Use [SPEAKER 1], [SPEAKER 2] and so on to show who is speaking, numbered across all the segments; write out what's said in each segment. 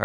[SPEAKER 1] All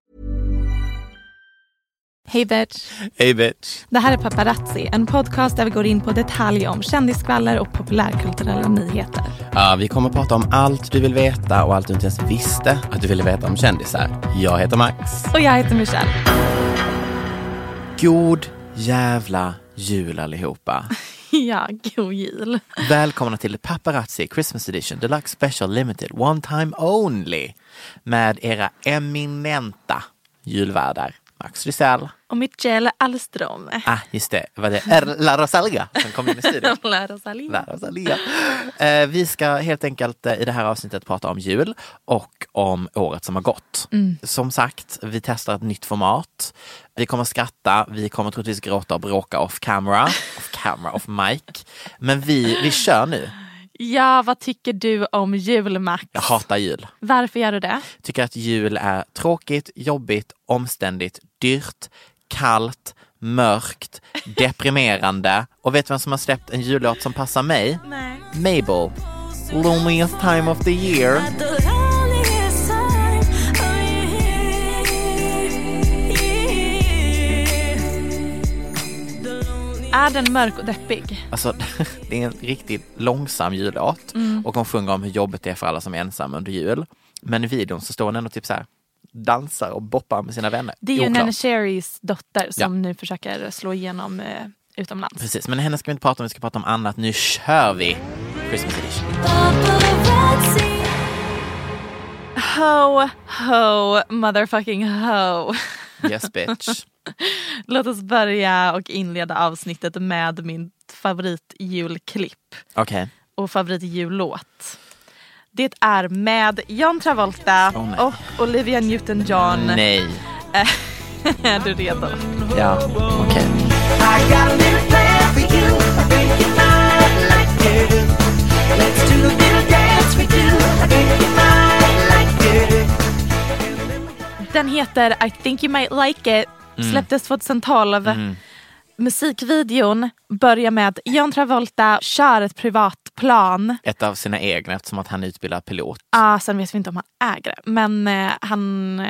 [SPEAKER 2] Hej bitch!
[SPEAKER 3] Hej bitch!
[SPEAKER 2] Det här är Paparazzi, en podcast där vi går in på detaljer om kändisskvaller och populärkulturella nyheter.
[SPEAKER 3] Ja, vi kommer prata om allt du vill veta och allt du inte ens visste att du ville veta om kändisar. Jag heter Max.
[SPEAKER 2] Och jag heter Michelle.
[SPEAKER 3] God jävla jul allihopa.
[SPEAKER 2] ja, god jul.
[SPEAKER 3] Välkomna till Paparazzi Christmas Edition Deluxe Special Limited One Time Only med era eminenta julvärdar Max Rysell.
[SPEAKER 2] Och Michelle Alström.
[SPEAKER 3] Ah, just det. Var det Erla Rosalga som kom in i studion?
[SPEAKER 2] Lär oss allihopa.
[SPEAKER 3] Lära oss Alia. Eh, vi ska helt enkelt eh, i det här avsnittet prata om jul och om året som har gått. Som sagt, vi testar ett nytt format. Vi kommer skratta, vi kommer troligtvis gråta och bråka off camera, off camera, off mic. Men vi, vi kör nu.
[SPEAKER 2] Ja, vad tycker du om jul Max?
[SPEAKER 3] Jag hatar jul.
[SPEAKER 2] Varför gör du det?
[SPEAKER 3] Tycker att jul är tråkigt, jobbigt, omständigt, dyrt, kallt, mörkt, deprimerande. Och vet du vem som har släppt en jullåt som passar mig?
[SPEAKER 2] Nej.
[SPEAKER 3] Mabel. Loneliest time of the year.
[SPEAKER 2] Är den mörk och deppig?
[SPEAKER 3] Alltså, det är en riktigt långsam jullåt
[SPEAKER 2] Mm.
[SPEAKER 3] och hon sjunger om hur jobbigt det är för alla som är ensamma under jul. Men i videon så står hon ändå typ så här, dansar och boppar med sina vänner.
[SPEAKER 2] Det är ju
[SPEAKER 3] Oklart.
[SPEAKER 2] Nene Cherrys dotter som nu försöker slå igenom eh, utomlands.
[SPEAKER 3] Precis, men henne ska vi inte prata om, vi ska prata om annat. Nu kör vi! Christmas edition.
[SPEAKER 2] Ho, ho, motherfucking ho.
[SPEAKER 3] Yes bitch.
[SPEAKER 2] Låt oss börja och inleda avsnittet med min favoritjulklipp
[SPEAKER 3] Okej.
[SPEAKER 2] och favoritjullåt. Det är med John Travolta
[SPEAKER 3] Åh, nej.
[SPEAKER 2] och Olivia Newton-John.
[SPEAKER 3] Nej.
[SPEAKER 2] är du redo?
[SPEAKER 3] Ja, okej.
[SPEAKER 2] Den heter I think you might like it.
[SPEAKER 3] Mm.
[SPEAKER 2] Släpptes 2012. Musikvideon börjar med John Travolta kör ett privatplan.
[SPEAKER 3] Ett av sina egna eftersom att han är utbildad pilot.
[SPEAKER 2] Ah, sen vet vi inte om han äger det. Men eh, han eh,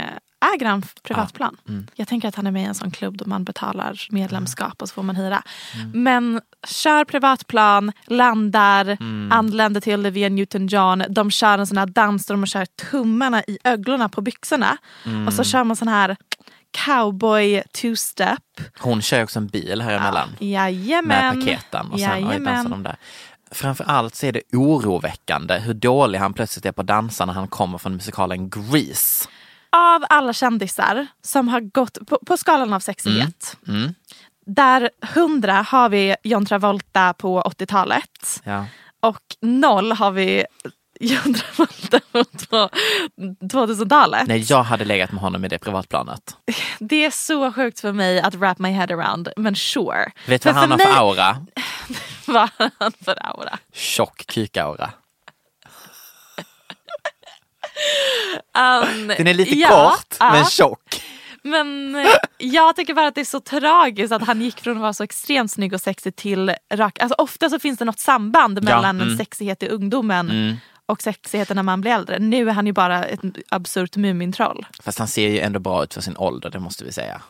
[SPEAKER 2] äger en f- privatplan.
[SPEAKER 3] Ah, mm.
[SPEAKER 2] Jag tänker att han är med i en sån klubb där man betalar medlemskap och så får man hyra.
[SPEAKER 3] Mm.
[SPEAKER 2] Men kör privatplan, landar,
[SPEAKER 3] Mm.
[SPEAKER 2] anländer till Olivia Newton-John. De kör en sån här dans där de kör tummarna i öglorna på byxorna.
[SPEAKER 3] Mm.
[SPEAKER 2] Och så kör man sån här cowboy two-step.
[SPEAKER 3] Hon kör ju också en bil här emellan. med
[SPEAKER 2] Jajamän.
[SPEAKER 3] paketen och sen oj, dansar
[SPEAKER 2] Jajamän.
[SPEAKER 3] de där. Framförallt så är det oroväckande hur dålig han plötsligt är på att dansa när han kommer från musikalen Grease.
[SPEAKER 2] av alla kändisar som har gått på, på skalan av sexighet.
[SPEAKER 3] Mm.
[SPEAKER 2] Där 100 har vi John Travolta på 80-talet
[SPEAKER 3] Ja.
[SPEAKER 2] och 0 har vi John Travolta på två- 2000-talet.
[SPEAKER 3] Nej, jag hade legat med honom i det privatplanet.
[SPEAKER 2] Det är så sjukt för mig att wrap my head around, men sure.
[SPEAKER 3] Vet du
[SPEAKER 2] Men
[SPEAKER 3] vad han har för
[SPEAKER 2] mig-
[SPEAKER 3] aura?
[SPEAKER 2] Vad har han för aura?
[SPEAKER 3] Tjock kukaura.
[SPEAKER 2] Um,
[SPEAKER 3] Den är lite
[SPEAKER 2] ja,
[SPEAKER 3] kort
[SPEAKER 2] ja.
[SPEAKER 3] men tjock.
[SPEAKER 2] Men eh, jag tycker bara att det är så tragiskt att han gick från att vara så extremt snygg och sexig till rak. Alltså ofta så finns det något samband mellan en sexighet i ungdomen och sexigheten när man blir äldre. Nu är han ju bara ett absurt Mumintroll.
[SPEAKER 3] Fast han ser ju ändå bra ut för sin ålder, det måste vi säga.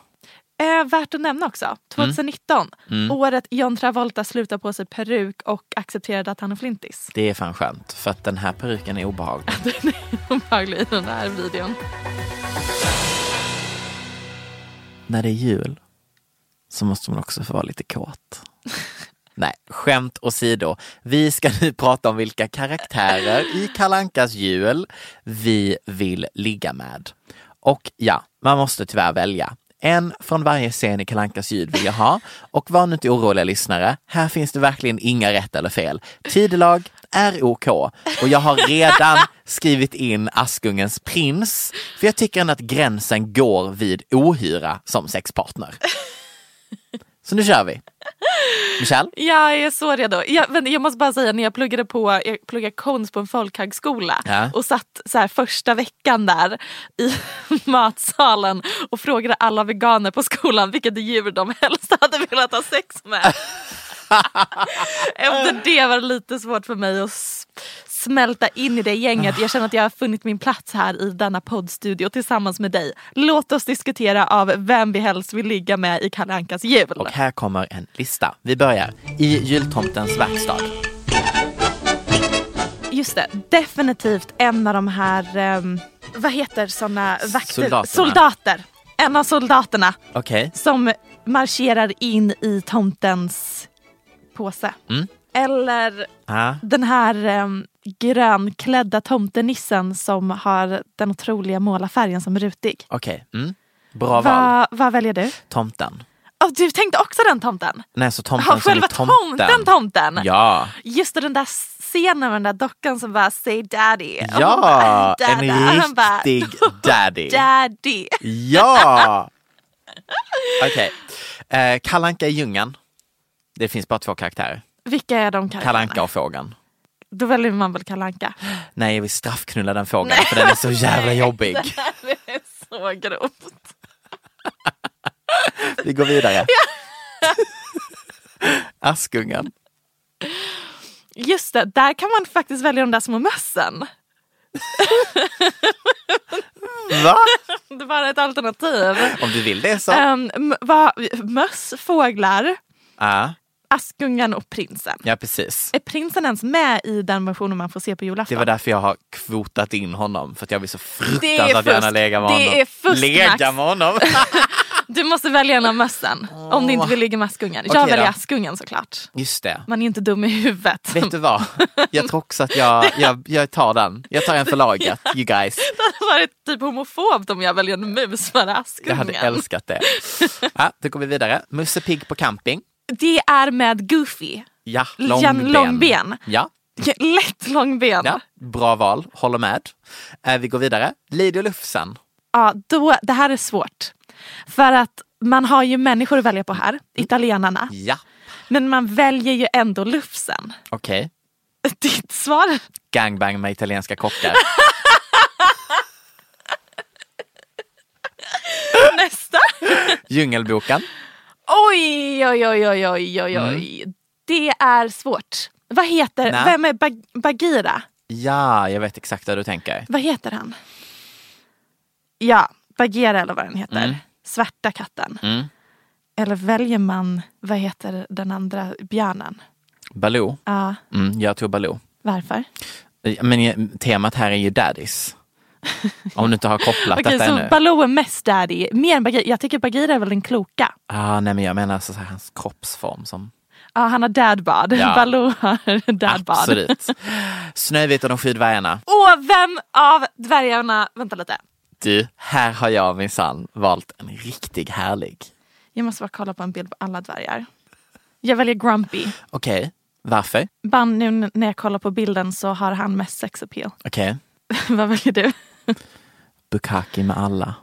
[SPEAKER 2] Eh, värt att nämna också, 2019, året John Travolta slutade på sig peruk och accepterade att han är flintis.
[SPEAKER 3] Det är fan skönt, för att den här peruken är obehaglig.
[SPEAKER 2] Obehaglig i den här videon.
[SPEAKER 3] När det är jul så måste man också få vara lite kåt. Nej, skämt åsido. Vi ska nu prata om vilka karaktärer i Kalankas jul vi vill ligga med. Och ja, man måste tyvärr välja. En från varje scen i Kalankas jul vill jag ha. Och var nu inte oroliga lyssnare, här finns det verkligen inga rätt eller fel. Tidelag är OK och jag har redan skrivit in Askungens prins. För jag tycker ändå att gränsen går vid ohyra som sexpartner. Så nu kör vi. Michelle?
[SPEAKER 2] Jag är så redo. Jag, men jag måste bara säga när jag pluggade på jag pluggade konst på en folkhögskola
[SPEAKER 3] Ja.
[SPEAKER 2] och satt så här första veckan där i matsalen och frågade alla veganer på skolan vilket djur de helst hade velat ha sex med. Efter det var det lite svårt för mig att s- smälta in i det gänget. Jag känner att jag har funnit min plats här i denna poddstudio tillsammans med dig. Låt oss diskutera av vem vi helst vill ligga med i Kalle Ankas jul.
[SPEAKER 3] Och här kommer en lista. Vi börjar i jultomtens verkstad.
[SPEAKER 2] Just det, definitivt en av de här, ehm, vad heter såna vakter?
[SPEAKER 3] Soldaterna.
[SPEAKER 2] Soldater. En av soldaterna
[SPEAKER 3] Okej.
[SPEAKER 2] som marscherar in i tomtens påse.
[SPEAKER 3] Mm.
[SPEAKER 2] Eller
[SPEAKER 3] Ah.
[SPEAKER 2] den här ehm, grönklädda tomtenissen som har den otroliga målarfärgen som rutig.
[SPEAKER 3] Okej. Mm. Bra val.
[SPEAKER 2] Vad vad väljer du?
[SPEAKER 3] Tomten.
[SPEAKER 2] Åh, du tänkte också den tomten?
[SPEAKER 3] Nej, så tomten
[SPEAKER 2] Ja,
[SPEAKER 3] som
[SPEAKER 2] själva
[SPEAKER 3] är tomten.
[SPEAKER 2] tomten tomten!
[SPEAKER 3] Ja.
[SPEAKER 2] Just det, den där scenen med den där dockan som bara say daddy. Och hon
[SPEAKER 3] Ja,
[SPEAKER 2] bara, "Dada." Han bara,
[SPEAKER 3] en riktig daddy.
[SPEAKER 2] Daddy.
[SPEAKER 3] Ja! Okej. Eh, Kalle Anka i djungeln. Det finns bara två karaktärer.
[SPEAKER 2] Vilka är de karaktärerna?
[SPEAKER 3] Kalle Anka och fågeln.
[SPEAKER 2] Då väljer man väl Kalanka.
[SPEAKER 3] Nej, jag vill straffknulla den fågeln för den är så jävla jobbig.
[SPEAKER 2] Det är så grovt.
[SPEAKER 3] Vi går vidare. Askungen.
[SPEAKER 2] Just det, där kan man faktiskt välja de där små mössen.
[SPEAKER 3] Va?
[SPEAKER 2] Det var ett alternativ.
[SPEAKER 3] Om du vill det så.
[SPEAKER 2] Ehm, m- vad- möss, fåglar,
[SPEAKER 3] Ja,
[SPEAKER 2] Askungen och prinsen.
[SPEAKER 3] ja precis.
[SPEAKER 2] Är prinsen ens med i den versionen man får se på julafton?
[SPEAKER 3] Det var därför jag har kvotat in honom. För att jag vill så
[SPEAKER 2] Det är
[SPEAKER 3] fruktansvärt
[SPEAKER 2] fusk.
[SPEAKER 3] gärna lägga med
[SPEAKER 2] Det
[SPEAKER 3] honom.
[SPEAKER 2] är fusk, Max.
[SPEAKER 3] lägga med honom?
[SPEAKER 2] Du måste välja en av mössen om du inte vill ligga med Askungen. Jag
[SPEAKER 3] Okej
[SPEAKER 2] väljer
[SPEAKER 3] då.
[SPEAKER 2] Askungen såklart.
[SPEAKER 3] Just det.
[SPEAKER 2] Man är inte dum i huvudet.
[SPEAKER 3] Vet du vad? Jag tror också att jag, jag, jag tar den. Jag tar en för laget, you guys.
[SPEAKER 2] Det hade varit typ homofobt om jag väljer en mus före Askungen.
[SPEAKER 3] Jag hade älskat det. Ja, då går vi vidare. Musse Pigg på camping.
[SPEAKER 2] Det är med Goofy.
[SPEAKER 3] Ja,
[SPEAKER 2] Jan
[SPEAKER 3] långben.
[SPEAKER 2] Långben.
[SPEAKER 3] Ja,
[SPEAKER 2] Lätt långben.
[SPEAKER 3] ja,
[SPEAKER 2] Ja.
[SPEAKER 3] bra val. Håller med. Eh, Vi går vidare. Lady och Lufsen.
[SPEAKER 2] då, det här är svårt. För att man har ju människor att välja på här, italienarna.
[SPEAKER 3] Ja,
[SPEAKER 2] Men man väljer ju ändå Lufsen.
[SPEAKER 3] okej.
[SPEAKER 2] Ditt svar?
[SPEAKER 3] Gangbang med italienska kockar.
[SPEAKER 2] Nästa?
[SPEAKER 3] Djungelboken.
[SPEAKER 2] Oj, oj, oj, oj, oj, oj. oj. Det är svårt. Vad heter,
[SPEAKER 3] Mm. Nej.
[SPEAKER 2] vem är Bag- Bagheera?
[SPEAKER 3] Ja, jag vet exakt vad du tänker.
[SPEAKER 2] Vad heter han? Ja, Bagheera eller vad den heter.
[SPEAKER 3] Mm.
[SPEAKER 2] Svarta katten.
[SPEAKER 3] Mm.
[SPEAKER 2] Eller väljer man, vad heter den andra björnen?
[SPEAKER 3] Baloo.
[SPEAKER 2] Ja,
[SPEAKER 3] Mm, jag tog Baloo.
[SPEAKER 2] varför?
[SPEAKER 3] Men jag- temat här är ju daddies. Om du inte har kopplat
[SPEAKER 2] Okej,
[SPEAKER 3] detta
[SPEAKER 2] så
[SPEAKER 3] ännu.
[SPEAKER 2] Baloo är mest daddy. Mer än Bagheera. Jag tycker Bagheera är väl den kloka.
[SPEAKER 3] Ah, nej, men jag menar alltså så här, hans kroppsform som...
[SPEAKER 2] Ja, han har dadbad.
[SPEAKER 3] Ja.
[SPEAKER 2] Baloo har dadbad.
[SPEAKER 3] Absolut. Snövit och de sju dvärgarna.
[SPEAKER 2] Och vem av dvärgarna, vänta lite.
[SPEAKER 3] Du, här har jag minsann valt en riktigt härlig.
[SPEAKER 2] Jag måste bara kolla på en bild på alla dvärgar. Jag väljer Grumpy.
[SPEAKER 3] Okej, varför?
[SPEAKER 2] Bara nu när jag kollar på bilden så har han mest sex appeal.
[SPEAKER 3] Okej,
[SPEAKER 2] Vad väljer du?
[SPEAKER 3] Bukaki med alla.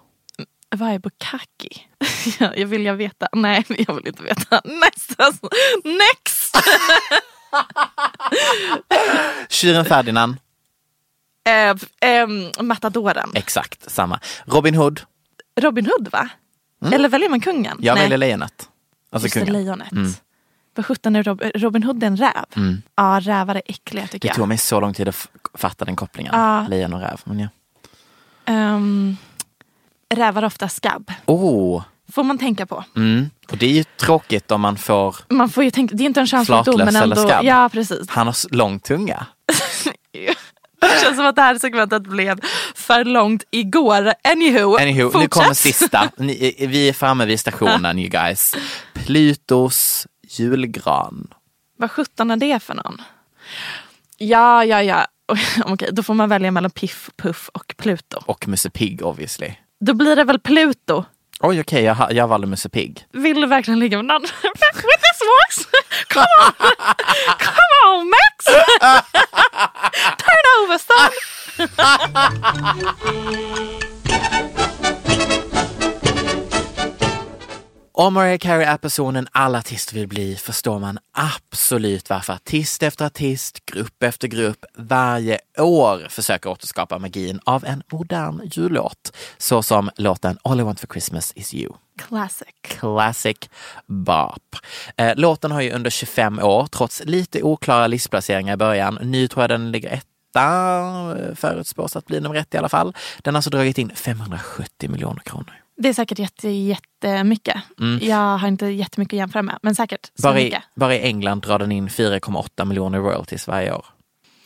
[SPEAKER 2] Vad är bukkake? Ja, jag vill jag veta. Nej, jag vill inte veta. Nästa! Next!
[SPEAKER 3] Tjuren Ferdinand.
[SPEAKER 2] Eh, eh, matadoren.
[SPEAKER 3] Eh. Exakt samma. Robin Hood,
[SPEAKER 2] Robin Hood va? Eller väljer man kungen?
[SPEAKER 3] jag
[SPEAKER 2] Nej.
[SPEAKER 3] Mm. väljer lejonet. Alltså
[SPEAKER 2] Just det,
[SPEAKER 3] kungen.
[SPEAKER 2] lejonet. Vad sjutton är Rob- Robin Hood är en räv? Ja, rävar är äckliga tycker
[SPEAKER 3] Mm. Det
[SPEAKER 2] jag.
[SPEAKER 3] tog mig så lång tid att f- fatta den kopplingen.
[SPEAKER 2] Ja.
[SPEAKER 3] Lejon och räv. Men ja.
[SPEAKER 2] Ehm, rävar har ofta skabb.
[SPEAKER 3] oh,
[SPEAKER 2] Får man tänka på.
[SPEAKER 3] mm. Och det är ju tråkigt om man får...
[SPEAKER 2] Man får ju tänka, det är inte en könssjukdom
[SPEAKER 3] Flatlös
[SPEAKER 2] men
[SPEAKER 3] eller
[SPEAKER 2] ändå.
[SPEAKER 3] skabb?
[SPEAKER 2] Ja, precis.
[SPEAKER 3] Han har s- lång tunga.
[SPEAKER 2] Det känns som att det här segmentet blev för långt igår. Anywho,
[SPEAKER 3] Anywho, nu
[SPEAKER 2] fortsätt.
[SPEAKER 3] kommer sista. Ni, eh, vi är framme vid stationen you guys. Plutos julgran.
[SPEAKER 2] Vad sjutton är det för någon? Ja, ja, ja. Okej, då får man välja mellan Piff, Puff och Pluto.
[SPEAKER 3] Och Musse Pigg obviously.
[SPEAKER 2] Då blir det väl Pluto.
[SPEAKER 3] Oj okej, jag, ha- jag valde Musse Pigg.
[SPEAKER 2] Vill du verkligen ligga med någon? With this voice? Come on! Come on Max! Turn over son!
[SPEAKER 3] Om Mariah Carey är personen alla artister vill bli förstår man absolut varför artist efter artist, grupp efter grupp varje år försöker återskapa magin av en modern jullåt. Så som låten All I Want For Christmas Is You.
[SPEAKER 2] Classic.
[SPEAKER 3] Classic Bop. Eh, Låten har ju under 25 år, trots lite oklara listplaceringar i början, nu tror jag den ligger etta, eh, förutspås att bli nummer ett i alla fall. Den har alltså dragit in 570 miljoner kronor.
[SPEAKER 2] Det är säkert jätte, jättemycket. Jag har inte jättemycket att jämföra med, men säkert så
[SPEAKER 3] Bara i,
[SPEAKER 2] mycket.
[SPEAKER 3] bara i England drar den in 4,8 miljoner royalties varje år.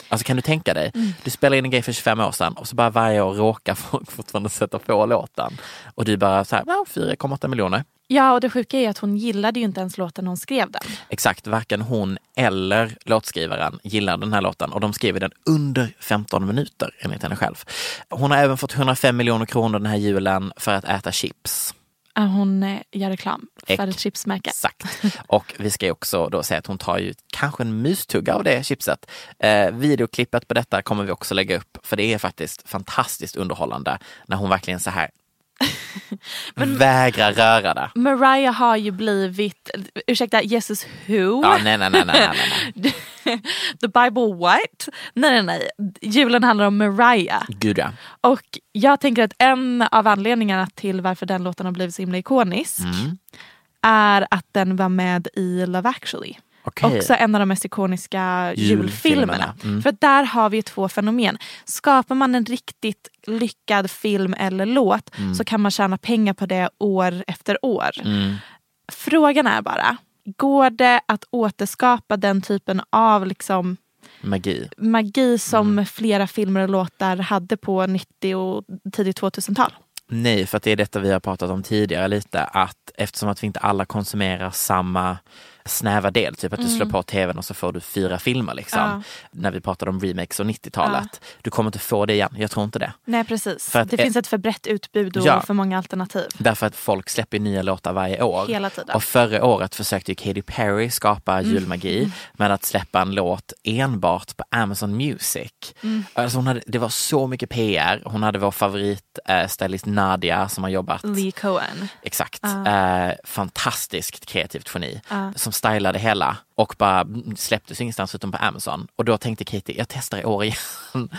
[SPEAKER 3] Alltså kan du tänka dig,
[SPEAKER 2] Mm.
[SPEAKER 3] du spelar in en grej för 25 år sedan och så bara varje år råkar folk fortfarande sätta på låten. Och du bara så här, "Ja, 4,8 miljoner.
[SPEAKER 2] Ja, och det sjuka är att hon gillade ju inte ens låten när hon skrev den.
[SPEAKER 3] Exakt, varken hon eller låtskrivaren gillar den här låten och de skriver den under 15 minuter enligt henne själv. Hon har även fått 105 miljoner kronor den här julen för att äta chips.
[SPEAKER 2] Äh, Hon eh, gör reklam för
[SPEAKER 3] Äck.
[SPEAKER 2] ett chipsmärke.
[SPEAKER 3] Exakt. Och vi ska ju också då säga att hon tar ju kanske en mustugga av det chipset. Eh, videoklippet på detta kommer vi också lägga upp för det är faktiskt fantastiskt underhållande när hon verkligen så här vägrar röra det.
[SPEAKER 2] Mariah har ju blivit, ursäkta, Jesus who?
[SPEAKER 3] Ja, nej, nej, nej, nej, nej, nej.
[SPEAKER 2] The Bible White? Nej, nej, nej. Julen handlar om Mariah.
[SPEAKER 3] Gud ja.
[SPEAKER 2] Och jag tänker att en av anledningarna till varför den låten har blivit så himla ikonisk
[SPEAKER 3] Mm.
[SPEAKER 2] är att den var med i Love actually.
[SPEAKER 3] Okej.
[SPEAKER 2] Också en av de mest ikoniska
[SPEAKER 3] Julfilmerna. Mm.
[SPEAKER 2] julfilmerna. För att där har vi ju två fenomen. Skapar man en riktigt lyckad film eller låt
[SPEAKER 3] Mm.
[SPEAKER 2] så kan man tjäna pengar på det år efter år.
[SPEAKER 3] Mm,
[SPEAKER 2] Frågan är bara, går det att återskapa den typen av liksom
[SPEAKER 3] Magi.
[SPEAKER 2] magi som
[SPEAKER 3] Mm.
[SPEAKER 2] flera filmer och låtar hade på 90 och tidigt 2000-tal.
[SPEAKER 3] Nej, för att det är detta vi har pratat om tidigare lite, att eftersom att vi inte alla konsumerar samma snäva del, typ att du
[SPEAKER 2] Mm.
[SPEAKER 3] slår på tvn och så får du fyra filmer liksom. När vi pratade om remakes och 90-talet. Du kommer inte få det igen, jag tror inte det.
[SPEAKER 2] Nej precis.
[SPEAKER 3] För att
[SPEAKER 2] det
[SPEAKER 3] e-
[SPEAKER 2] finns ett för brett utbud och
[SPEAKER 3] Ja.
[SPEAKER 2] för många alternativ.
[SPEAKER 3] Därför att folk släpper nya låtar varje år.
[SPEAKER 2] Hela tiden. Mm.
[SPEAKER 3] Och förra året försökte ju Katy Perry skapa julmagi med att släppa en låt enbart på Amazon Music.
[SPEAKER 2] Mm.
[SPEAKER 3] Alltså hon hade, det var så mycket PR. Hon hade vår favoritstylist Nadia som har jobbat
[SPEAKER 2] Lee Cohen.
[SPEAKER 3] Exakt.
[SPEAKER 2] Ah.
[SPEAKER 3] Eh, fantastiskt kreativt geni som stylade hela och bara mm, släpptes ingenstans utom på Amazon. Och då tänkte Katie, jag testar i år igen.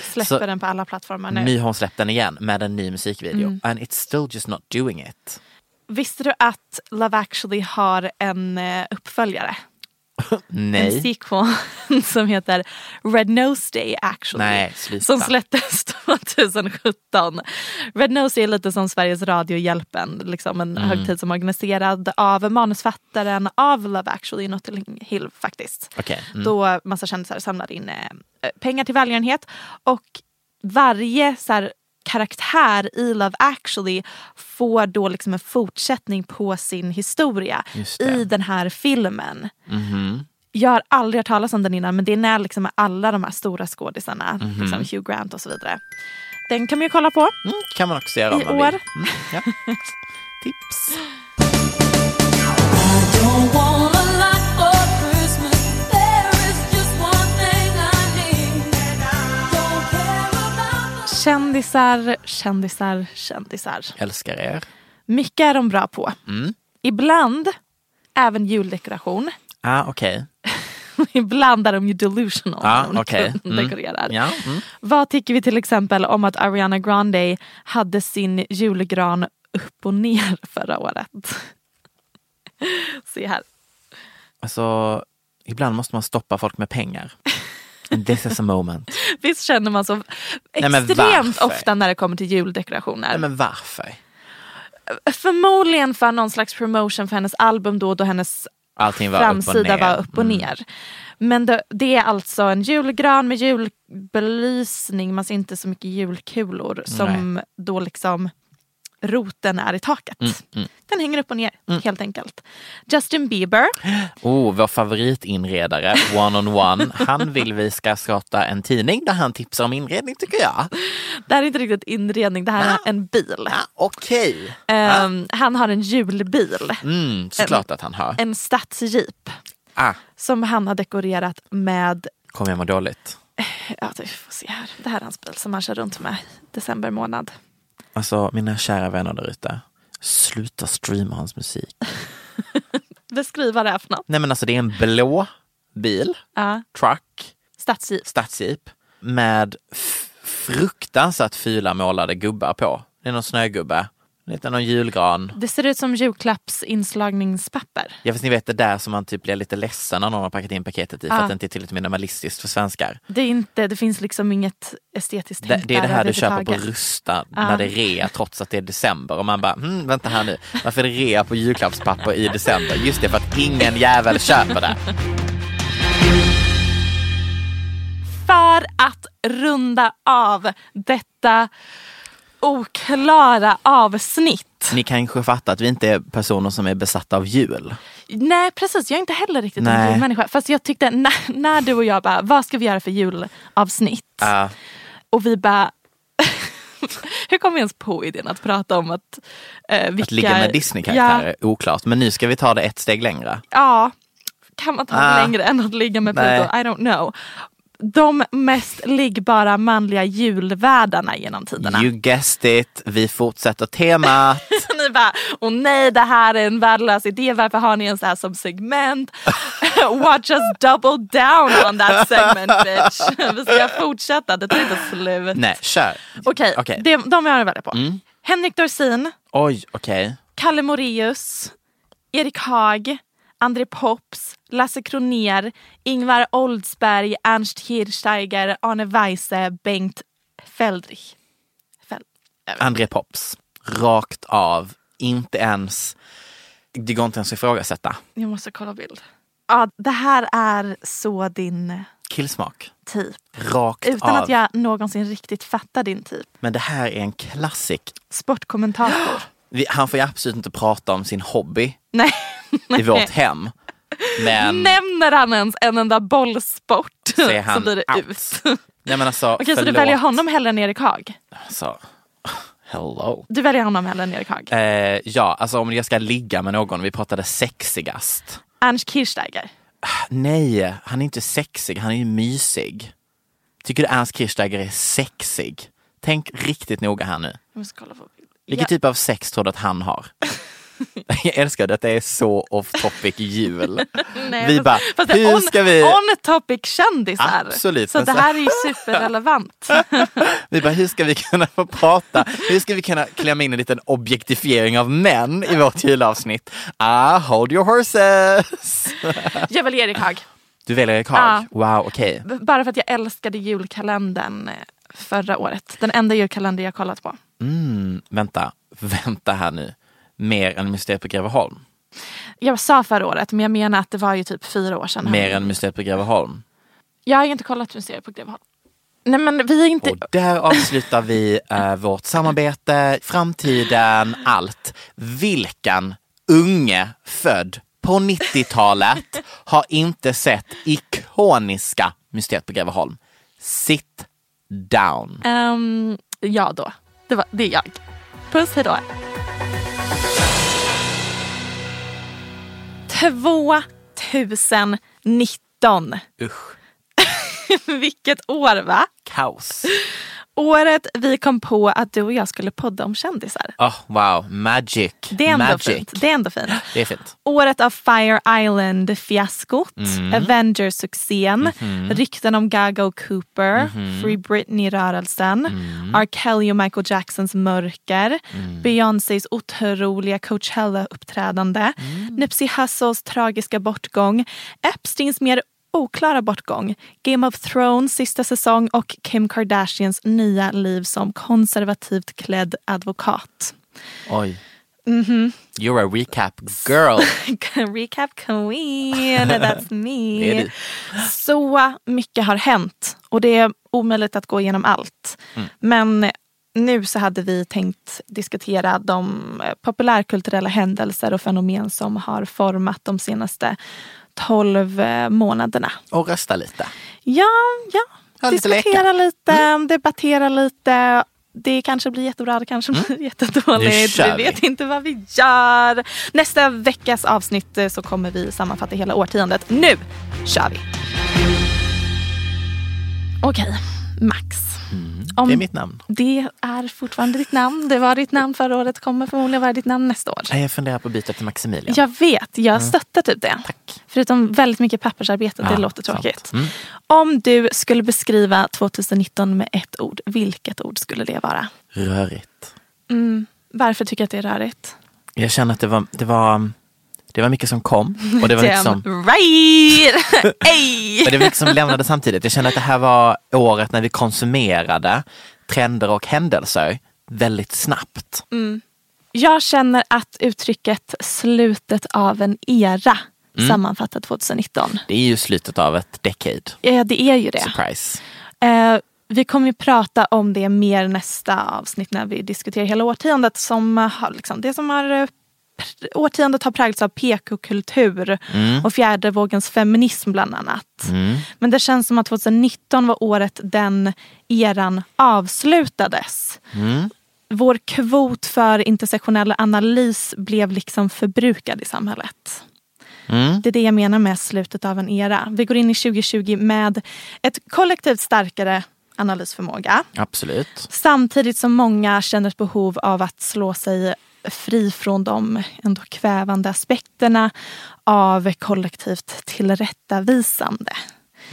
[SPEAKER 2] Släpper
[SPEAKER 3] Så
[SPEAKER 2] den på alla plattformar nu. Mm.
[SPEAKER 3] nu har hon släppt den igen med en ny musikvideo. And it's still just not doing it.
[SPEAKER 2] Visste du att Love actually har en eh, uppföljare? En
[SPEAKER 3] Nej.
[SPEAKER 2] sequel som heter Red Nose Day actually.
[SPEAKER 3] Nej, sluta.
[SPEAKER 2] Som släpptes 2017. Red Nose är lite som Sveriges Radiohjälpen, liksom en högtid som är organiserad av manusfattaren av Love actually i Notting Hill faktiskt.
[SPEAKER 3] Okej. Mm.
[SPEAKER 2] Då massa kändisar samlar in eh, pengar till välgörenhet och varje så här, karaktär i Love actually får då liksom en fortsättning på sin historia
[SPEAKER 3] Just det. Mm-hmm.
[SPEAKER 2] i den här filmen. Jag har aldrig hört talas om den innan men det är när liksom alla de här stora skådisarna,
[SPEAKER 3] Mm-hmm.
[SPEAKER 2] liksom Hugh Grant och så vidare. Den kan man ju kolla på.
[SPEAKER 3] Mm, kan man också göra om
[SPEAKER 2] I
[SPEAKER 3] man vill.
[SPEAKER 2] år.
[SPEAKER 3] Mm, ja. Tips.
[SPEAKER 2] Kändisar, kändisar, kändisar.
[SPEAKER 3] Älskar er.
[SPEAKER 2] Mycket är de
[SPEAKER 3] Mm.
[SPEAKER 2] bra på. Ibland även juldekoration.
[SPEAKER 3] Ah, okej.
[SPEAKER 2] Ibland är de ju delusional
[SPEAKER 3] Ja,
[SPEAKER 2] när de
[SPEAKER 3] okej. Mm.
[SPEAKER 2] dekorerar.
[SPEAKER 3] Ja, mm.
[SPEAKER 2] Vad tycker vi till exempel om att Ariana Grande hade sin julgran upp och ner förra året? Se här.
[SPEAKER 3] Alltså, ibland måste man stoppa folk med pengar. This is a moment.
[SPEAKER 2] Visst känner man så
[SPEAKER 3] men
[SPEAKER 2] extremt
[SPEAKER 3] varför?
[SPEAKER 2] ofta när det kommer till juldekorationer?
[SPEAKER 3] Nej, men varför?
[SPEAKER 2] Förmodligen för någon slags promotion för hennes album då, då hennes
[SPEAKER 3] Allting var upp och
[SPEAKER 2] framsida
[SPEAKER 3] ner. Mm.
[SPEAKER 2] var upp och ner. Men det, det är alltså en julgran med julbelysning, man ser inte så mycket julkulor som då liksom roten är i taket.
[SPEAKER 3] Mm,
[SPEAKER 2] Den hänger upp och ner helt enkelt. Justin Bieber,
[SPEAKER 3] Oh, vår favoritinredare, one on one. Han vill vi ska starta en tidning där han tipsar om inredning tycker jag.
[SPEAKER 2] det här är inte riktigt inredning, det här är en bil.
[SPEAKER 3] Ja, Okej.
[SPEAKER 2] Ehm, han har en julbil,
[SPEAKER 3] Mm, såklart att han har.
[SPEAKER 2] en stadsjeep
[SPEAKER 3] Ah,
[SPEAKER 2] som han har dekorerat med
[SPEAKER 3] kommer jag må dåligt?
[SPEAKER 2] Ja, vi får se här. Det här är hans bil som han kör runt med i december månad.
[SPEAKER 3] Alltså, mina kära vänner där ute. Sluta streama hans musik.
[SPEAKER 2] Beskriva det här för något.
[SPEAKER 3] Nej men alltså det är en blå bil,
[SPEAKER 2] Ja,
[SPEAKER 3] truck,
[SPEAKER 2] stadsjeep.
[SPEAKER 3] stadsjeep med f- fruktansvärt fula målade gubbar på. Det är någon snögubbe, lite någon julgran.
[SPEAKER 2] Det ser ut som julklappsinslagningspapper.
[SPEAKER 3] Ja fast ni vet det där som man typ blir lite ledsen när någon har packat in paketet i för
[SPEAKER 2] Ja.
[SPEAKER 3] att det inte är tillräckligt minimalistiskt för svenskar.
[SPEAKER 2] Det, är inte, det finns liksom inget estetiskt
[SPEAKER 3] Det,
[SPEAKER 2] tänk
[SPEAKER 3] det är det
[SPEAKER 2] där
[SPEAKER 3] här du köper på
[SPEAKER 2] överhuvudtaget.
[SPEAKER 3] Rusta när det är rea trots att det är december och man bara hmm, vänta här nu, varför är det rea på julklappspapper i december? Just det, för att ingen jävel köper det.
[SPEAKER 2] För att runda av detta oklara avsnitt.
[SPEAKER 3] Ni kanske fattar att vi inte är personer som är besatta av jul.
[SPEAKER 2] Nej precis, jag är inte heller riktigt en
[SPEAKER 3] Nej.
[SPEAKER 2] julmänniska. Fast jag tyckte när, när du och jag bara, vad ska vi göra för julavsnitt?
[SPEAKER 3] Ja.
[SPEAKER 2] Och vi bara... Hur kom vi ens på idén att prata om att... Eh, vilka,
[SPEAKER 3] Att ligga med
[SPEAKER 2] Ja,
[SPEAKER 3] Disney-karaktärer, oklart. Men nu ska vi ta det ett steg längre.
[SPEAKER 2] ja, kan man ta det
[SPEAKER 3] Ah.
[SPEAKER 2] längre än att ligga med Pluto?
[SPEAKER 3] Nej.
[SPEAKER 2] I don't know. De mest liggbara manliga julvärdarna genom tiderna.
[SPEAKER 3] You guessed it, vi fortsätter temat.
[SPEAKER 2] Ni bara, åh nej det här är en värdelös idé, varför har ni ens det här som segment? Watch us double down on that segment bitch. Vi ska fortsätta, det tar inte slut.
[SPEAKER 3] Nej, kör.
[SPEAKER 2] Okej,
[SPEAKER 3] Okej. Mm.
[SPEAKER 2] det- de jag har varit på. Henrik Dorsin,
[SPEAKER 3] Oj, okej.
[SPEAKER 2] Kalle Moreus, Erik Haag, André Pops, Lasse Kroner, Ingvar Oldsberg, Ernst Hirsteiger, Arne Weise, Bengt Feldrich. Fel-
[SPEAKER 3] André Pops. Rakt av, inte ens... Det går inte ens att ifrågasätta.
[SPEAKER 2] Jag måste kolla bild. Ja, det här är så din
[SPEAKER 3] Killsmak.
[SPEAKER 2] typ.
[SPEAKER 3] Rakt
[SPEAKER 2] Utan
[SPEAKER 3] av.
[SPEAKER 2] att jag någonsin riktigt fattar din typ.
[SPEAKER 3] Men det här är en klassik.
[SPEAKER 2] Sportkommentator.
[SPEAKER 3] Vi, han får ju absolut inte prata om sin hobby
[SPEAKER 2] Nej.
[SPEAKER 3] i vårt hem. Men
[SPEAKER 2] Nämner han ens en enda bollsport
[SPEAKER 3] så är han
[SPEAKER 2] så blir det
[SPEAKER 3] out.
[SPEAKER 2] ut.
[SPEAKER 3] Nej men alltså,
[SPEAKER 2] Okej, så du
[SPEAKER 3] förlåt.
[SPEAKER 2] väljer honom hellre än Erik Haag?
[SPEAKER 3] Alltså, hello.
[SPEAKER 2] Du väljer honom hellre än Erik Haag?
[SPEAKER 3] Eh, ja, alltså om jag ska ligga med någon, vi pratade sexigast.
[SPEAKER 2] Ernst Kirchsteiger?
[SPEAKER 3] Nej, han är inte sexig, han är ju mysig. Tycker du Ernst Kirchsteiger är sexig? Tänk riktigt noga här nu.
[SPEAKER 2] Jag måste kolla på bild.
[SPEAKER 3] Vilken
[SPEAKER 2] Ja.
[SPEAKER 3] typ av sex tror du att han har? jag älskar att det är så off topic jul.
[SPEAKER 2] Nej,
[SPEAKER 3] vi
[SPEAKER 2] fast-
[SPEAKER 3] bara,
[SPEAKER 2] fast det är
[SPEAKER 3] hur
[SPEAKER 2] on,
[SPEAKER 3] ska vi...
[SPEAKER 2] On topic kändisar.
[SPEAKER 3] Absolut,
[SPEAKER 2] Så
[SPEAKER 3] alltså. men
[SPEAKER 2] det
[SPEAKER 3] så-
[SPEAKER 2] här är ju superrelevant.
[SPEAKER 3] Vi bara, hur ska vi kunna få prata? Hur ska vi kunna klämma in en liten objektifiering av män i vårt julavsnitt? Ah, hold your horses!
[SPEAKER 2] jag väljer Erik Haag.
[SPEAKER 3] Du väljer Erik Haag? Wow, okej.
[SPEAKER 2] B- Bara för att jag älskade julkalendern eh, förra året. Den enda julkalender jag kollat på.
[SPEAKER 3] Vänta, vänta här nu. Mer än Mysteriet på Greveholm?
[SPEAKER 2] Jag sa förra året, men jag menar att det var ju typ fyra år sedan.
[SPEAKER 3] Mer än Mysteriet på Greveholm?
[SPEAKER 2] Jag har ju inte kollat museet på Greveholm. Nej men vi är inte...
[SPEAKER 3] Och där avslutar vi eh, vårt samarbete, framtiden, allt. Vilken unge född på 90-talet har inte sett ikoniska Mysteriet på Greveholm? Sit down.
[SPEAKER 2] Ehm, ja då. Det, var, det är jag. Puss, hejdå. Två tusen nitton.
[SPEAKER 3] Usch,
[SPEAKER 2] Vilket år va?
[SPEAKER 3] kaos.
[SPEAKER 2] året vi kom på att du och jag skulle podda om kändisar.
[SPEAKER 3] Oh, wow, magic.
[SPEAKER 2] Det är ändå
[SPEAKER 3] magic.
[SPEAKER 2] fint. Det är ändå fint.
[SPEAKER 3] Det är fint.
[SPEAKER 2] Året av Fire Island-fiaskot, Avengers-succén, rykten om Gaga och Cooper, Free Britney-rörelsen, R. Kelly och Michael Jacksons mörker, Beyoncés otroliga Coachella-uppträdande, Nipsey Hussles tragiska bortgång, Epsteins mer oklara bortgång, Game of Thrones sista säsong och Kim Kardashians nya liv som konservativt klädd advokat.
[SPEAKER 3] Oj.
[SPEAKER 2] Mhm.
[SPEAKER 3] You're a recap girl.
[SPEAKER 2] Recap queen, that's me.
[SPEAKER 3] Det är du.
[SPEAKER 2] Så mycket har hänt och det är omöjligt att gå igenom allt.
[SPEAKER 3] Mm.
[SPEAKER 2] Men nu så hade vi tänkt diskutera de eh, populärkulturella händelser och fenomen som har format de senaste 12 eh, månaderna.
[SPEAKER 3] Och rösta lite.
[SPEAKER 2] Ja, ja.
[SPEAKER 3] Ja, lite Mm.
[SPEAKER 2] diskutera lite, debattera lite. Det kanske blir jättebra, det kanske blir
[SPEAKER 3] Mm. Nu
[SPEAKER 2] jättedåligt. Vi
[SPEAKER 3] kör vi.
[SPEAKER 2] vet inte vad vi gör. Nästa veckas avsnitt eh, så kommer vi sammanfatta hela årtiondet. Nu kör vi! Okej, Max. Om
[SPEAKER 3] Det är mitt namn.
[SPEAKER 2] det är fortfarande ditt namn. Det var ditt namn förra året, kommer förmodligen vara ditt namn nästa år.
[SPEAKER 3] Nej, Jag funderar på att byta till Maximilian.
[SPEAKER 2] Jag vet, jag stöttar typ det. Förutom väldigt mycket pappersarbete, det
[SPEAKER 3] Mm. Ja,
[SPEAKER 2] låter
[SPEAKER 3] sant.
[SPEAKER 2] tråkigt.
[SPEAKER 3] Mm.
[SPEAKER 2] Om du skulle beskriva 2019 med ett ord, vilket ord skulle det vara?
[SPEAKER 3] Mm. Rörigt.
[SPEAKER 2] Mm. Varför tycker jag att det är rörigt?
[SPEAKER 3] Jag känner att det var, det var, det var mycket som kom och det var mycket som,
[SPEAKER 2] Damn right! Ey!
[SPEAKER 3] och det var mycket som lämnade samtidigt. Jag känner att det här var året när vi konsumerade trender och händelser väldigt snabbt.
[SPEAKER 2] Jag känner att uttrycket slutet av en era sammanfattar 2019.
[SPEAKER 3] Det är ju slutet av ett decade.
[SPEAKER 2] Ja, det är ju det.
[SPEAKER 3] Surprise.
[SPEAKER 2] Eh, vi kommer ju prata om det mer nästa avsnitt när vi diskuterar hela årtiondet. Som har, liksom, det som har, eh, pr- årtiondet har präglats av PK-kultur och fjärde vågens feminism bland annat. Men det känns som att 2019 var året den eran avslutades. Vår kvot för intersektionell analys blev liksom förbrukad i samhället. Det är det jag menar med slutet av en era. Vi går in i 2020 med ett kollektivt starkare analysförmåga.
[SPEAKER 3] Absolut.
[SPEAKER 2] Samtidigt som många känner ett behov av att slå sig fri från de ändå kvävande aspekterna av kollektivt tillrättavisande.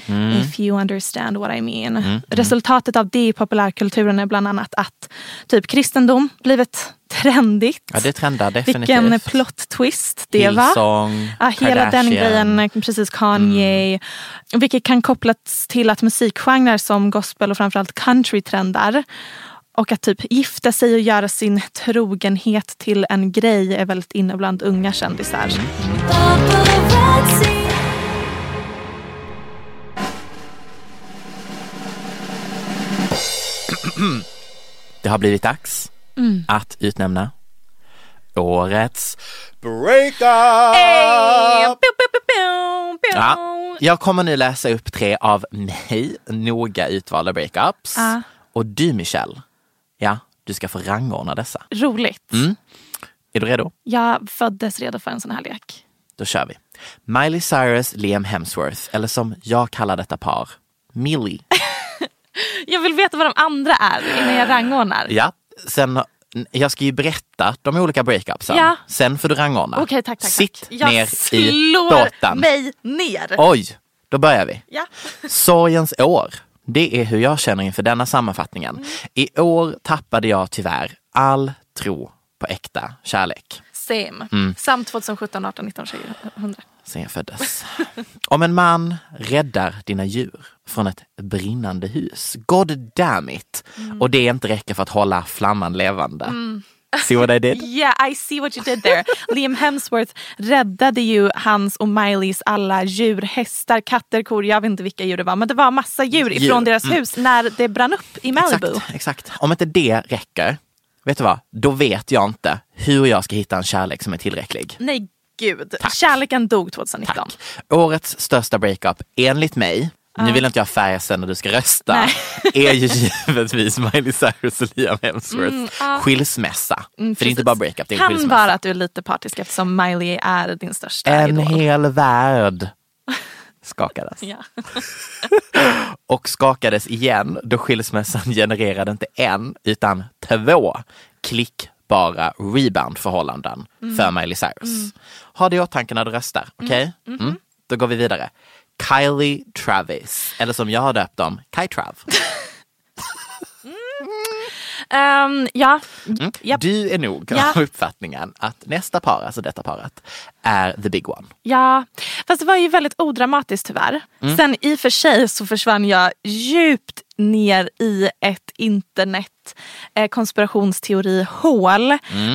[SPEAKER 3] Mm.
[SPEAKER 2] If you understand what I mean. Resultatet av det i populärkulturen är bland annat att typ kristendom blivit trendigt.
[SPEAKER 3] Ja, det trendar definitivt.
[SPEAKER 2] Vilken plot twist det var.
[SPEAKER 3] Hillsong,
[SPEAKER 2] Ja, hela den
[SPEAKER 3] Kardashian. Mm.
[SPEAKER 2] grejen, precis Kanye. Vilket kan kopplas till att musikgenrer som gospel och framförallt country trendar. Och att typ gifta sig och göra sin trogenhet till en grej är väldigt inne bland unga kändisar.
[SPEAKER 3] Mm. Det har blivit dags
[SPEAKER 2] Mm.
[SPEAKER 3] att utnämna årets breakup!
[SPEAKER 2] Pew, pew, pew, pew, pew.
[SPEAKER 3] Ah! Ja, jag kommer nu läsa upp tre av mig noga utvalda breakups.
[SPEAKER 2] Ja.
[SPEAKER 3] Och du Michelle, ja, du ska få rangordna dessa.
[SPEAKER 2] Roligt.
[SPEAKER 3] Mm. Är du redo?
[SPEAKER 2] Jag föddes redo för en sån här lek.
[SPEAKER 3] Då kör vi. Miley Cyrus, Liam Hemsworth, eller som jag kallar detta par, Millie.
[SPEAKER 2] Jag vill veta vad de andra är innan jag rangordnar.
[SPEAKER 3] Ja, sen, jag ska ju berätta de olika breakupsen.
[SPEAKER 2] Ja.
[SPEAKER 3] Sen får du rangordna.
[SPEAKER 2] Okej, tack, tack, tack.
[SPEAKER 3] Sitt
[SPEAKER 2] jag
[SPEAKER 3] ner i
[SPEAKER 2] slår
[SPEAKER 3] båten.
[SPEAKER 2] mig ner.
[SPEAKER 3] Oj, då börjar vi.
[SPEAKER 2] Ja.
[SPEAKER 3] Sorgens år. Det är hur jag känner inför denna sammanfattningen.
[SPEAKER 2] Mm.
[SPEAKER 3] I år tappade jag tyvärr all tro på äkta kärlek
[SPEAKER 2] Same.
[SPEAKER 3] Mm.
[SPEAKER 2] Samt 2017, 18, 19, 20, 100.
[SPEAKER 3] sen jag föddes. Om en man räddar dina djur från ett brinnande hus, god damn it,
[SPEAKER 2] Mm.
[SPEAKER 3] och det inte räcker för att hålla flamman levande. See what I did?
[SPEAKER 2] Yeah, I see what you did there. Liam Hemsworth räddade ju hans och Mileys alla djur. Hästar, katter, kor, jag vet inte vilka djur det var. Men det var massa djur ifrån
[SPEAKER 3] Djur, Mm.
[SPEAKER 2] deras hus när det brann upp i Malibu.
[SPEAKER 3] Exakt, exakt. Om inte det räcker, vet du vad? Då vet jag inte hur jag ska hitta en kärlek som är tillräcklig.
[SPEAKER 2] Nej, gud. Kärleken dog 2019.
[SPEAKER 3] Tack. Årets största breakup, enligt mig, nu vill inte jag färga sen när du ska rösta, är ju givetvis Miley Cyrus och Liam Hemsworth. Skilsmässa. För det är inte
[SPEAKER 2] Mm, Precis.
[SPEAKER 3] bara breakup, det är en
[SPEAKER 2] Kan
[SPEAKER 3] skilsmässa.
[SPEAKER 2] vara att du är lite partisk eftersom Miley är din största
[SPEAKER 3] En
[SPEAKER 2] idol.
[SPEAKER 3] hel värld skakades.
[SPEAKER 2] Ja.
[SPEAKER 3] Och skakades igen då skilsmässan genererade inte en utan två klickbara rebound-förhållanden för Miley Cyrus. Ha det i åtanke när du röstar, okej? Mm. Då går vi vidare. Kylie Travis, eller som jag har döpt dem, Kai Trav.
[SPEAKER 2] Ehm, ja.
[SPEAKER 3] Mm.
[SPEAKER 2] Japp.
[SPEAKER 3] Du är nog
[SPEAKER 2] Ja.
[SPEAKER 3] av uppfattningen att nästa par, alltså detta paret, är the big one.
[SPEAKER 2] ja, fast det var ju väldigt odramatiskt tyvärr. Sen i och för sig så försvann jag djupt ner i ett internet eh, konspirationsteori-hål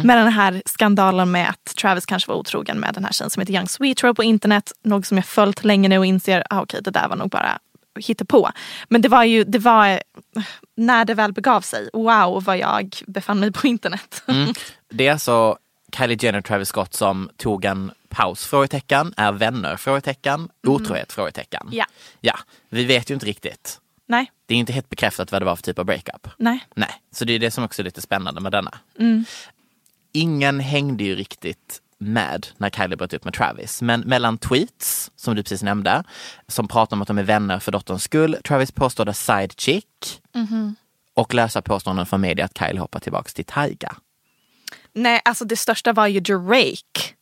[SPEAKER 2] med den här skandalen med att Travis kanske var otrogen med den här tjejen som heter Young Sweetrow på internet. Något som jag följt länge nu och inser ah, okej det där var nog bara på. Men det var ju, det var eh, när det väl begav sig, wow vad jag befann mig på internet.
[SPEAKER 3] Det är alltså Kylie Jenner och Travis Scott som tog en paus? Frågetecken. Är vänner? Frågetecken. Otrohet? Frågetecken.
[SPEAKER 2] Ja.
[SPEAKER 3] ja. Vi vet ju inte riktigt.
[SPEAKER 2] Nej,
[SPEAKER 3] Det är inte helt bekräftat vad det var för typ av breakup.
[SPEAKER 2] nej.
[SPEAKER 3] Nej, så det är det som också är lite spännande med denna. Ingen hängde ju riktigt med när Kylie bröt upp med Travis. Men mellan tweets, som du precis nämnde, som pratar om att de är vänner för dotterns skull. Travis påstådde side chick. Och lösa påståenden från media att Kylie hoppar tillbaka till Tyga.
[SPEAKER 2] Nej, alltså det största var ju Drake.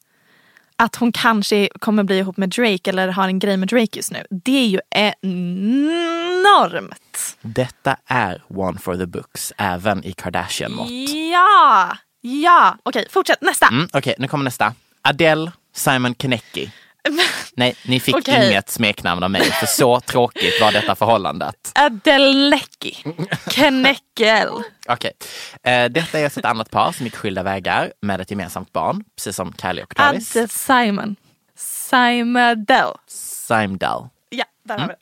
[SPEAKER 2] Att hon kanske kommer bli ihop med Drake eller har en grej med Drake just nu. Det är ju enormt.
[SPEAKER 3] Detta är one for the books, även i Kardashian-mått.
[SPEAKER 2] Ja, ja. Okej, fortsätt nästa.
[SPEAKER 3] Mm, Okej, nu kommer nästa. Adele, Simon Konecki. Nej, ni fick
[SPEAKER 2] Okej.
[SPEAKER 3] inget smeknamn av mig, för så tråkigt var detta förhållandet.
[SPEAKER 2] Adelecki. Keneckel.
[SPEAKER 3] Okej. Eh, detta är alltså ett annat par som gick skilda vägar med ett gemensamt barn, precis som Kylie och Travis.
[SPEAKER 2] Adde Simon. Simon Adele.
[SPEAKER 3] Simdal.
[SPEAKER 2] Ja, där har vi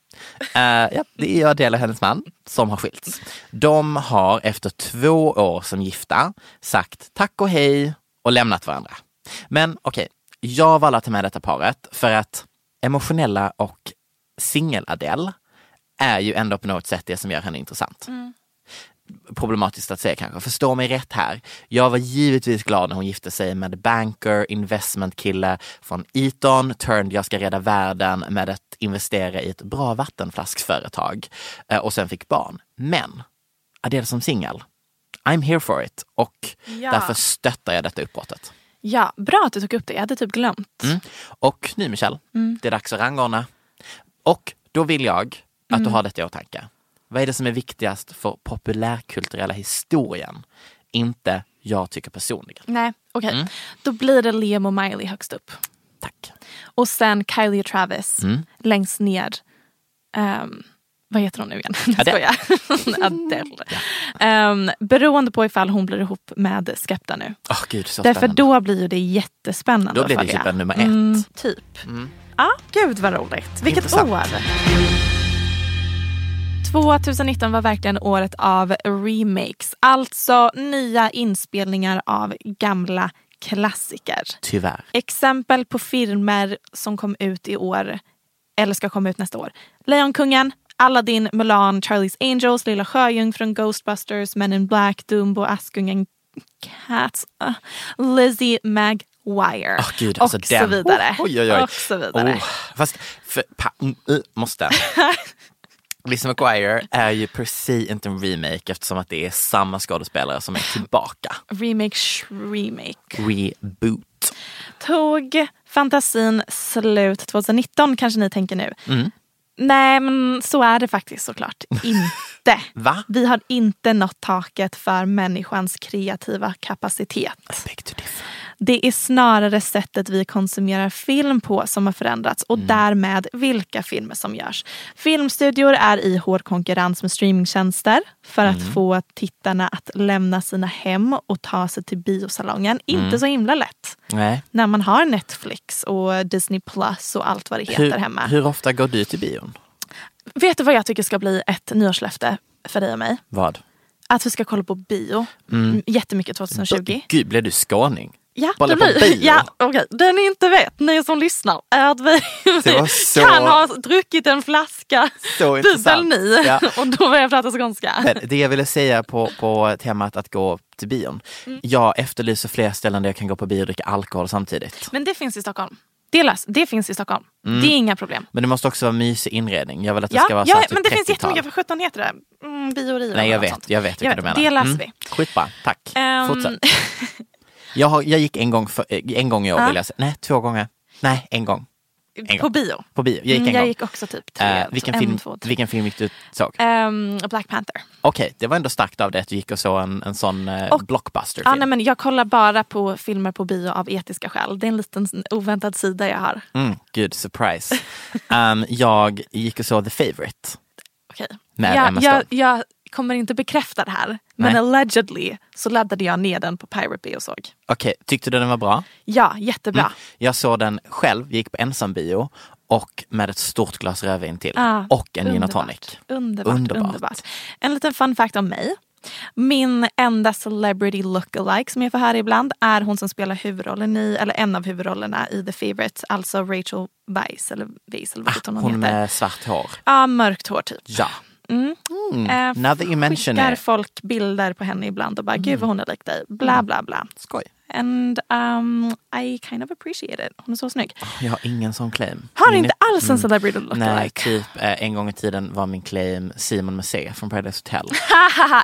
[SPEAKER 2] det.
[SPEAKER 3] Eh, ja, det är Adele och hennes man som har skilts. De har efter två år som gifta sagt tack och hej och lämnat varandra. Men okej, jag valde att ta med detta paret för att emotionella och singel-Adele är ju ändå på något sätt det som gör henne intressant. problematiskt att säga kanske. Förstå mig rätt här. Jag var givetvis glad när hon gifte sig med banker, investmentkille från Eton, turned jag ska rädda världen med att investera i ett bra vattenflaskföretag eh, och sen fick barn. Men Adele som singel, I'm here for it och
[SPEAKER 2] Ja.
[SPEAKER 3] därför stöttar jag detta uppbrottet.
[SPEAKER 2] Ja, bra att du tog upp det. Jag hade typ glömt.
[SPEAKER 3] Mm. Och nu Michelle,
[SPEAKER 2] Mm.
[SPEAKER 3] det är dags att rangordna. Och då vill jag att
[SPEAKER 2] Mm.
[SPEAKER 3] du har detta i åtanke. Vad är det som är viktigast för populärkulturella historien? Inte jag tycker personligen.
[SPEAKER 2] Nej, okej. Då blir det Liam och Miley högst upp.
[SPEAKER 3] Tack.
[SPEAKER 2] Och sen Kylie och Travis
[SPEAKER 3] Mm.
[SPEAKER 2] längst ner. Ehm, vad heter hon nu igen? Jag
[SPEAKER 3] Adele.
[SPEAKER 2] skojar. Adele. Ehm, beroende på ifall hon blir ihop med Skepta nu.
[SPEAKER 3] Åh gud, så
[SPEAKER 2] Därför
[SPEAKER 3] spännande.
[SPEAKER 2] då blir ju det jättespännande
[SPEAKER 3] Då blir det
[SPEAKER 2] att följa.
[SPEAKER 3] typ en nummer ett.
[SPEAKER 2] Mm, typ. Ja, gud vad roligt. Vilket
[SPEAKER 3] Intressant.
[SPEAKER 2] år. 2019 var verkligen året av remakes. Alltså nya inspelningar av gamla klassiker.
[SPEAKER 3] Tyvärr.
[SPEAKER 2] Exempel på filmer som kom ut i år eller ska komma ut nästa år. Lejonkungen, Aladdin, Mulan, Charlie's Angels, Lilla Sjöjungfrun, Ghostbusters, Men in Black, Dumbo, Askungen, Cats, uh, Lizzie McGuire
[SPEAKER 3] Åh gud, alltså
[SPEAKER 2] och
[SPEAKER 3] den.
[SPEAKER 2] så vidare.
[SPEAKER 3] Oj, oj, oj.
[SPEAKER 2] Och så vidare.
[SPEAKER 3] Oh, fast, för, pa, mm, uh, måste. Lizzie McGuire är ju per se inte en remake eftersom att det är samma skådespelare som är tillbaka.
[SPEAKER 2] Remake, remake.
[SPEAKER 3] Reboot.
[SPEAKER 2] Tog fantasin slut 2019 kanske ni tänker nu.
[SPEAKER 3] Mm.
[SPEAKER 2] Nej men så är det faktiskt såklart inte.
[SPEAKER 3] Va?
[SPEAKER 2] Vi har inte nått taket för människans kreativa kapacitet.
[SPEAKER 3] Big to differ.
[SPEAKER 2] Det är snarare sättet vi konsumerar film på som har förändrats
[SPEAKER 3] Mm.
[SPEAKER 2] och därmed vilka filmer som görs. Filmstudior är i hård konkurrens med streamingtjänster för att
[SPEAKER 3] Mm.
[SPEAKER 2] få tittarna att lämna sina hem och ta sig till biosalongen.
[SPEAKER 3] Mm.
[SPEAKER 2] Inte så himla lätt
[SPEAKER 3] Nej.
[SPEAKER 2] när man har Netflix och Disney Plus och allt vad det heter
[SPEAKER 3] Hur,
[SPEAKER 2] hemma.
[SPEAKER 3] hur ofta går du till bion?
[SPEAKER 2] Vet du vad jag tycker ska bli ett nyårslöfte för dig och mig?
[SPEAKER 3] Vad?
[SPEAKER 2] Att vi ska kolla på bio mm. jättemycket 2020.
[SPEAKER 3] Gud, blev du skåning?
[SPEAKER 2] Ja,
[SPEAKER 3] Kolla
[SPEAKER 2] det
[SPEAKER 3] på
[SPEAKER 2] blir-
[SPEAKER 3] bio?
[SPEAKER 2] Ja, okej. Det ni inte vet, ni som lyssnar, är att vi
[SPEAKER 3] Det var så-
[SPEAKER 2] kan ha druckit en flaska
[SPEAKER 3] Så
[SPEAKER 2] bubbel
[SPEAKER 3] intressant.
[SPEAKER 2] ni
[SPEAKER 3] Ja.
[SPEAKER 2] och då börjar jag prata skånska.
[SPEAKER 3] Men det jag ville säga på, på temat att gå till
[SPEAKER 2] Mm.
[SPEAKER 3] bion. Jag efterlyser fler ställen där jag kan gå på bio och dricka alkohol samtidigt.
[SPEAKER 2] Men det finns i Stockholm. Det, lös, det finns i Stockholm. Det är inga problem.
[SPEAKER 3] Men det måste också vara mysig inredning. Jag vill att Mm. det
[SPEAKER 2] Ja,
[SPEAKER 3] ska vara så
[SPEAKER 2] ja
[SPEAKER 3] här, typ
[SPEAKER 2] men det finns
[SPEAKER 3] 30-tal.
[SPEAKER 2] jättemycket. Vad sjutton heter det? Mm, Bioriva
[SPEAKER 3] Nej, jag
[SPEAKER 2] eller något
[SPEAKER 3] vet.
[SPEAKER 2] sånt.
[SPEAKER 3] Jag vet vilka du menar.
[SPEAKER 2] Det löser
[SPEAKER 3] Mm.
[SPEAKER 2] vi.
[SPEAKER 3] Skitbra, tack.
[SPEAKER 2] Ehm,
[SPEAKER 3] Fortsätt. Jag, har, jag gick en gång, för, eh, en gång i år,
[SPEAKER 2] Ja.
[SPEAKER 3] vill jag säga. Nej, två gånger. Nej, en gång. En
[SPEAKER 2] På
[SPEAKER 3] gång.
[SPEAKER 2] bio.
[SPEAKER 3] På bio. Jag gick en
[SPEAKER 2] Mm,
[SPEAKER 3] gång.
[SPEAKER 2] jag gick också typ tre.
[SPEAKER 3] Eh,
[SPEAKER 2] tror-
[SPEAKER 3] vilken,
[SPEAKER 2] en,
[SPEAKER 3] film,
[SPEAKER 2] två, tre.
[SPEAKER 3] vilken film gick du såg?
[SPEAKER 2] Ehm, Black Panther.
[SPEAKER 3] Okej, det var ändå starkt av dig att du gick och såg en, en sån eh,
[SPEAKER 2] Och- Ja,
[SPEAKER 3] blockbusterfilm.
[SPEAKER 2] nej, men jag kollar bara på filmer på bio av etiska skäl. Det är en liten oväntad sida jag har.
[SPEAKER 3] mm, gud, surprise. Ehm, jag gick och såg The Favourite.
[SPEAKER 2] Okej.
[SPEAKER 3] Med Emma
[SPEAKER 2] Jag, jag,
[SPEAKER 3] Stone.
[SPEAKER 2] jag kommer inte bekräfta det här, men
[SPEAKER 3] Nej.
[SPEAKER 2] allegedly så laddade jag ner den på Pirate Bay och såg.
[SPEAKER 3] Okej, tyckte du den var bra? Mm.
[SPEAKER 2] Ja, jättebra.
[SPEAKER 3] Jag såg den själv, gick på ensam bio och med ett stort glas rödvin till.
[SPEAKER 2] Ah,
[SPEAKER 3] och en gin och
[SPEAKER 2] underbart.
[SPEAKER 3] tonic.
[SPEAKER 2] Underbart,
[SPEAKER 3] Underbart.
[SPEAKER 2] underbart. En liten fun fact om mig. Min enda celebrity lookalike som jag får höra ibland är hon som spelar huvudrollen i, eller en av huvudrollerna i The Favourite, alltså Rachel Weisz eller Weisz eller vad heter hon
[SPEAKER 3] Ah, Hon
[SPEAKER 2] heter.
[SPEAKER 3] med svart hår.
[SPEAKER 2] Ja, mörkt hår typ.
[SPEAKER 3] Ja.
[SPEAKER 2] Mm. Eh,
[SPEAKER 3] Now that you mention
[SPEAKER 2] skickar
[SPEAKER 3] it. Mm.
[SPEAKER 2] folk bilder på henne ibland och bara gud vad hon är lik dig. Bla bla bla.
[SPEAKER 3] Skoj.
[SPEAKER 2] And um, I kind of appreciate it. Hon är så snygg.
[SPEAKER 3] Jag har ingen sån claim.
[SPEAKER 2] Har
[SPEAKER 3] Min-
[SPEAKER 2] inte alls en celebrity
[SPEAKER 3] Mm. Nej,
[SPEAKER 2] lookalike.
[SPEAKER 3] typ eh, en gång i tiden var min claim Simon Mussé från Paradise Hotel.
[SPEAKER 2] Ha, ha, ha.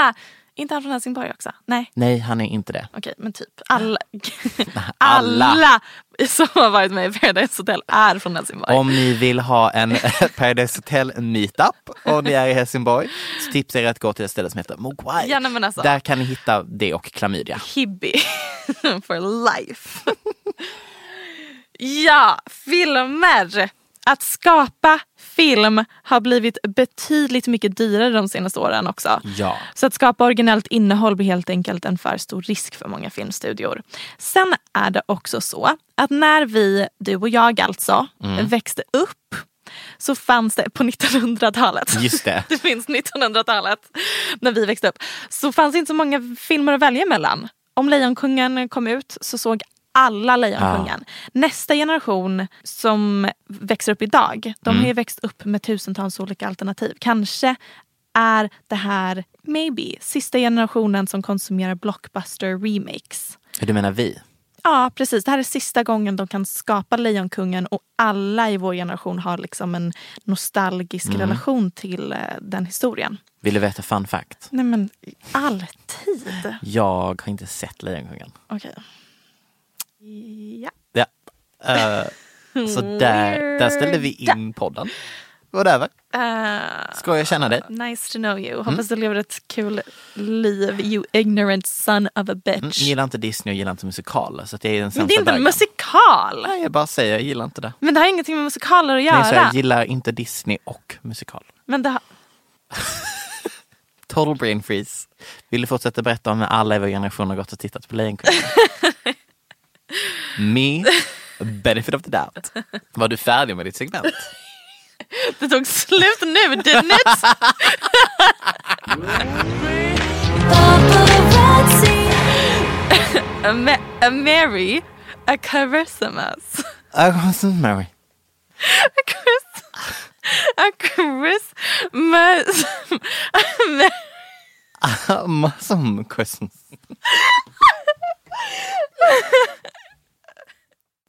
[SPEAKER 2] ha. Inte han från Helsingborg också? Nej.
[SPEAKER 3] Nej, han är inte det.
[SPEAKER 2] Okej, men typ alla,
[SPEAKER 3] Alla.
[SPEAKER 2] alla som har varit med i Paradise Hotel är från Helsingborg.
[SPEAKER 3] Om ni vill ha en Paradise Hotel meetup och ni är i Helsingborg så tipsar jag er att gå till ett ställe som heter Mogwai.
[SPEAKER 2] Ja, nej, men alltså.
[SPEAKER 3] Där kan ni hitta det och klamydia.
[SPEAKER 2] Hibby for life. ja, filmer. Att skapa film har blivit betydligt mycket dyrare de senaste åren också.
[SPEAKER 3] Ja.
[SPEAKER 2] Så att skapa originellt innehåll blir helt enkelt en för stor risk för många filmstudior. Sen är det också så att när vi, du och jag alltså, växte upp så fanns det på 1900-talet.
[SPEAKER 3] Just det.
[SPEAKER 2] Det finns 1900-talet när vi växte upp. Så fanns det inte så många filmer att välja mellan. Om Lejonkungen kom ut så såg alla Lejonkungen. Nästa generation som växer upp idag, de har ju växt upp med tusentals olika alternativ. Kanske är det här, maybe, sista generationen som konsumerar blockbuster remakes.
[SPEAKER 3] Hur du menar vi?
[SPEAKER 2] Ja, precis. Det här är sista gången de kan skapa Lejonkungen och alla i vår generation har liksom en nostalgisk relation till eh, den historien.
[SPEAKER 3] Vill du veta fun fact?
[SPEAKER 2] Nej men alltid.
[SPEAKER 3] Jag har inte sett Lejonkungen.
[SPEAKER 2] Okej. Ja.
[SPEAKER 3] Ja. Eh, så
[SPEAKER 2] Mm.
[SPEAKER 3] där, där ställde vi in podden. Var det över?
[SPEAKER 2] Eh,
[SPEAKER 3] Ska jag känna dig? Mm,
[SPEAKER 2] nice to know you. Hoppas du lever ett kul liv, you ignorant son of a
[SPEAKER 3] Mm,
[SPEAKER 2] bitch.
[SPEAKER 3] Gillar inte Disney och gillar inte musikaler. Så att jag är den
[SPEAKER 2] men det är
[SPEAKER 3] sämsta
[SPEAKER 2] inte en
[SPEAKER 3] bögen.
[SPEAKER 2] musikal!
[SPEAKER 3] Nej, jag bara säger, jag gillar inte det.
[SPEAKER 2] Men det har ingenting med musikaler att göra.
[SPEAKER 3] Nej, så jag gillar inte Disney och musikal.
[SPEAKER 2] men det har...
[SPEAKER 3] Total brain freeze. Vill du fortsätta berätta om när alla i vår generation har gått och tittat på Lejonkungen? Me, benefit of the doubt. Var du färdig med ditt segment?
[SPEAKER 2] Det tog slut nu, didn't it? A ma- a Mary, a Christmas.
[SPEAKER 3] I was Mary.
[SPEAKER 2] A Chris... A Christmas... A Ma-
[SPEAKER 3] Awesome Christmas.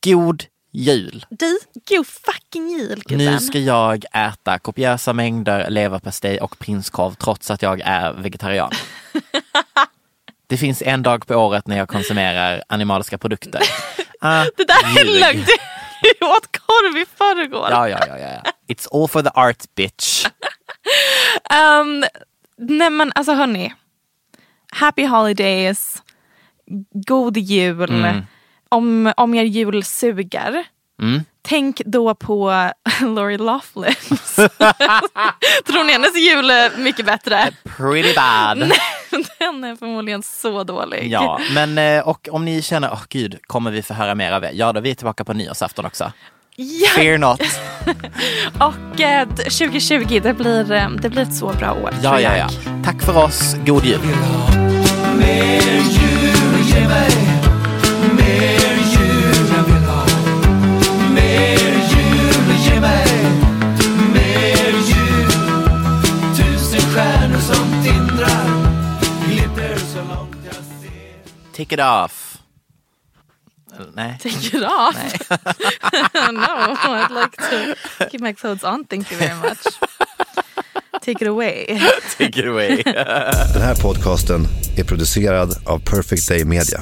[SPEAKER 3] God jul.
[SPEAKER 2] Dig, god fucking jul
[SPEAKER 3] Nu
[SPEAKER 2] gubben.
[SPEAKER 3] ska jag äta kopiösa mängder leverpastej och prinskorv trots att jag är vegetarian. Det finns en dag på året när jag konsumerar animaliska produkter. Ah,
[SPEAKER 2] Det där är
[SPEAKER 3] ljug.
[SPEAKER 2] lögn. Du åt korv i förrgår.
[SPEAKER 3] Ja, ja, ja, ja. ja. It's all for the art bitch.
[SPEAKER 2] Ehm, nej men alltså hörni. Happy holidays. God jul.
[SPEAKER 3] Mm.
[SPEAKER 2] Om, om er jul suger. Tänk då på Lori Loughlin. Tror ni hennes jul är mycket bättre?
[SPEAKER 3] Pretty bad.
[SPEAKER 2] Den är förmodligen så dålig.
[SPEAKER 3] Ja, men eh, och om ni känner, åh gud, kommer vi få höra mer av er? Ja, då vi är tillbaka på nyårsafton också.
[SPEAKER 2] Ja,
[SPEAKER 3] Fear not.
[SPEAKER 2] och eh, 2020, det blir, eh, det blir ett så bra år.
[SPEAKER 3] Ja,
[SPEAKER 2] tror
[SPEAKER 3] ja,
[SPEAKER 2] jag.
[SPEAKER 3] ja. Tack för oss. God jul. Take it off. Nej.
[SPEAKER 2] Take it off. no, I'd like to keep my clothes on. Thank you very much. Take it away.
[SPEAKER 3] Take it away.
[SPEAKER 4] Den här podcasten är producerad av Perfect Day Media.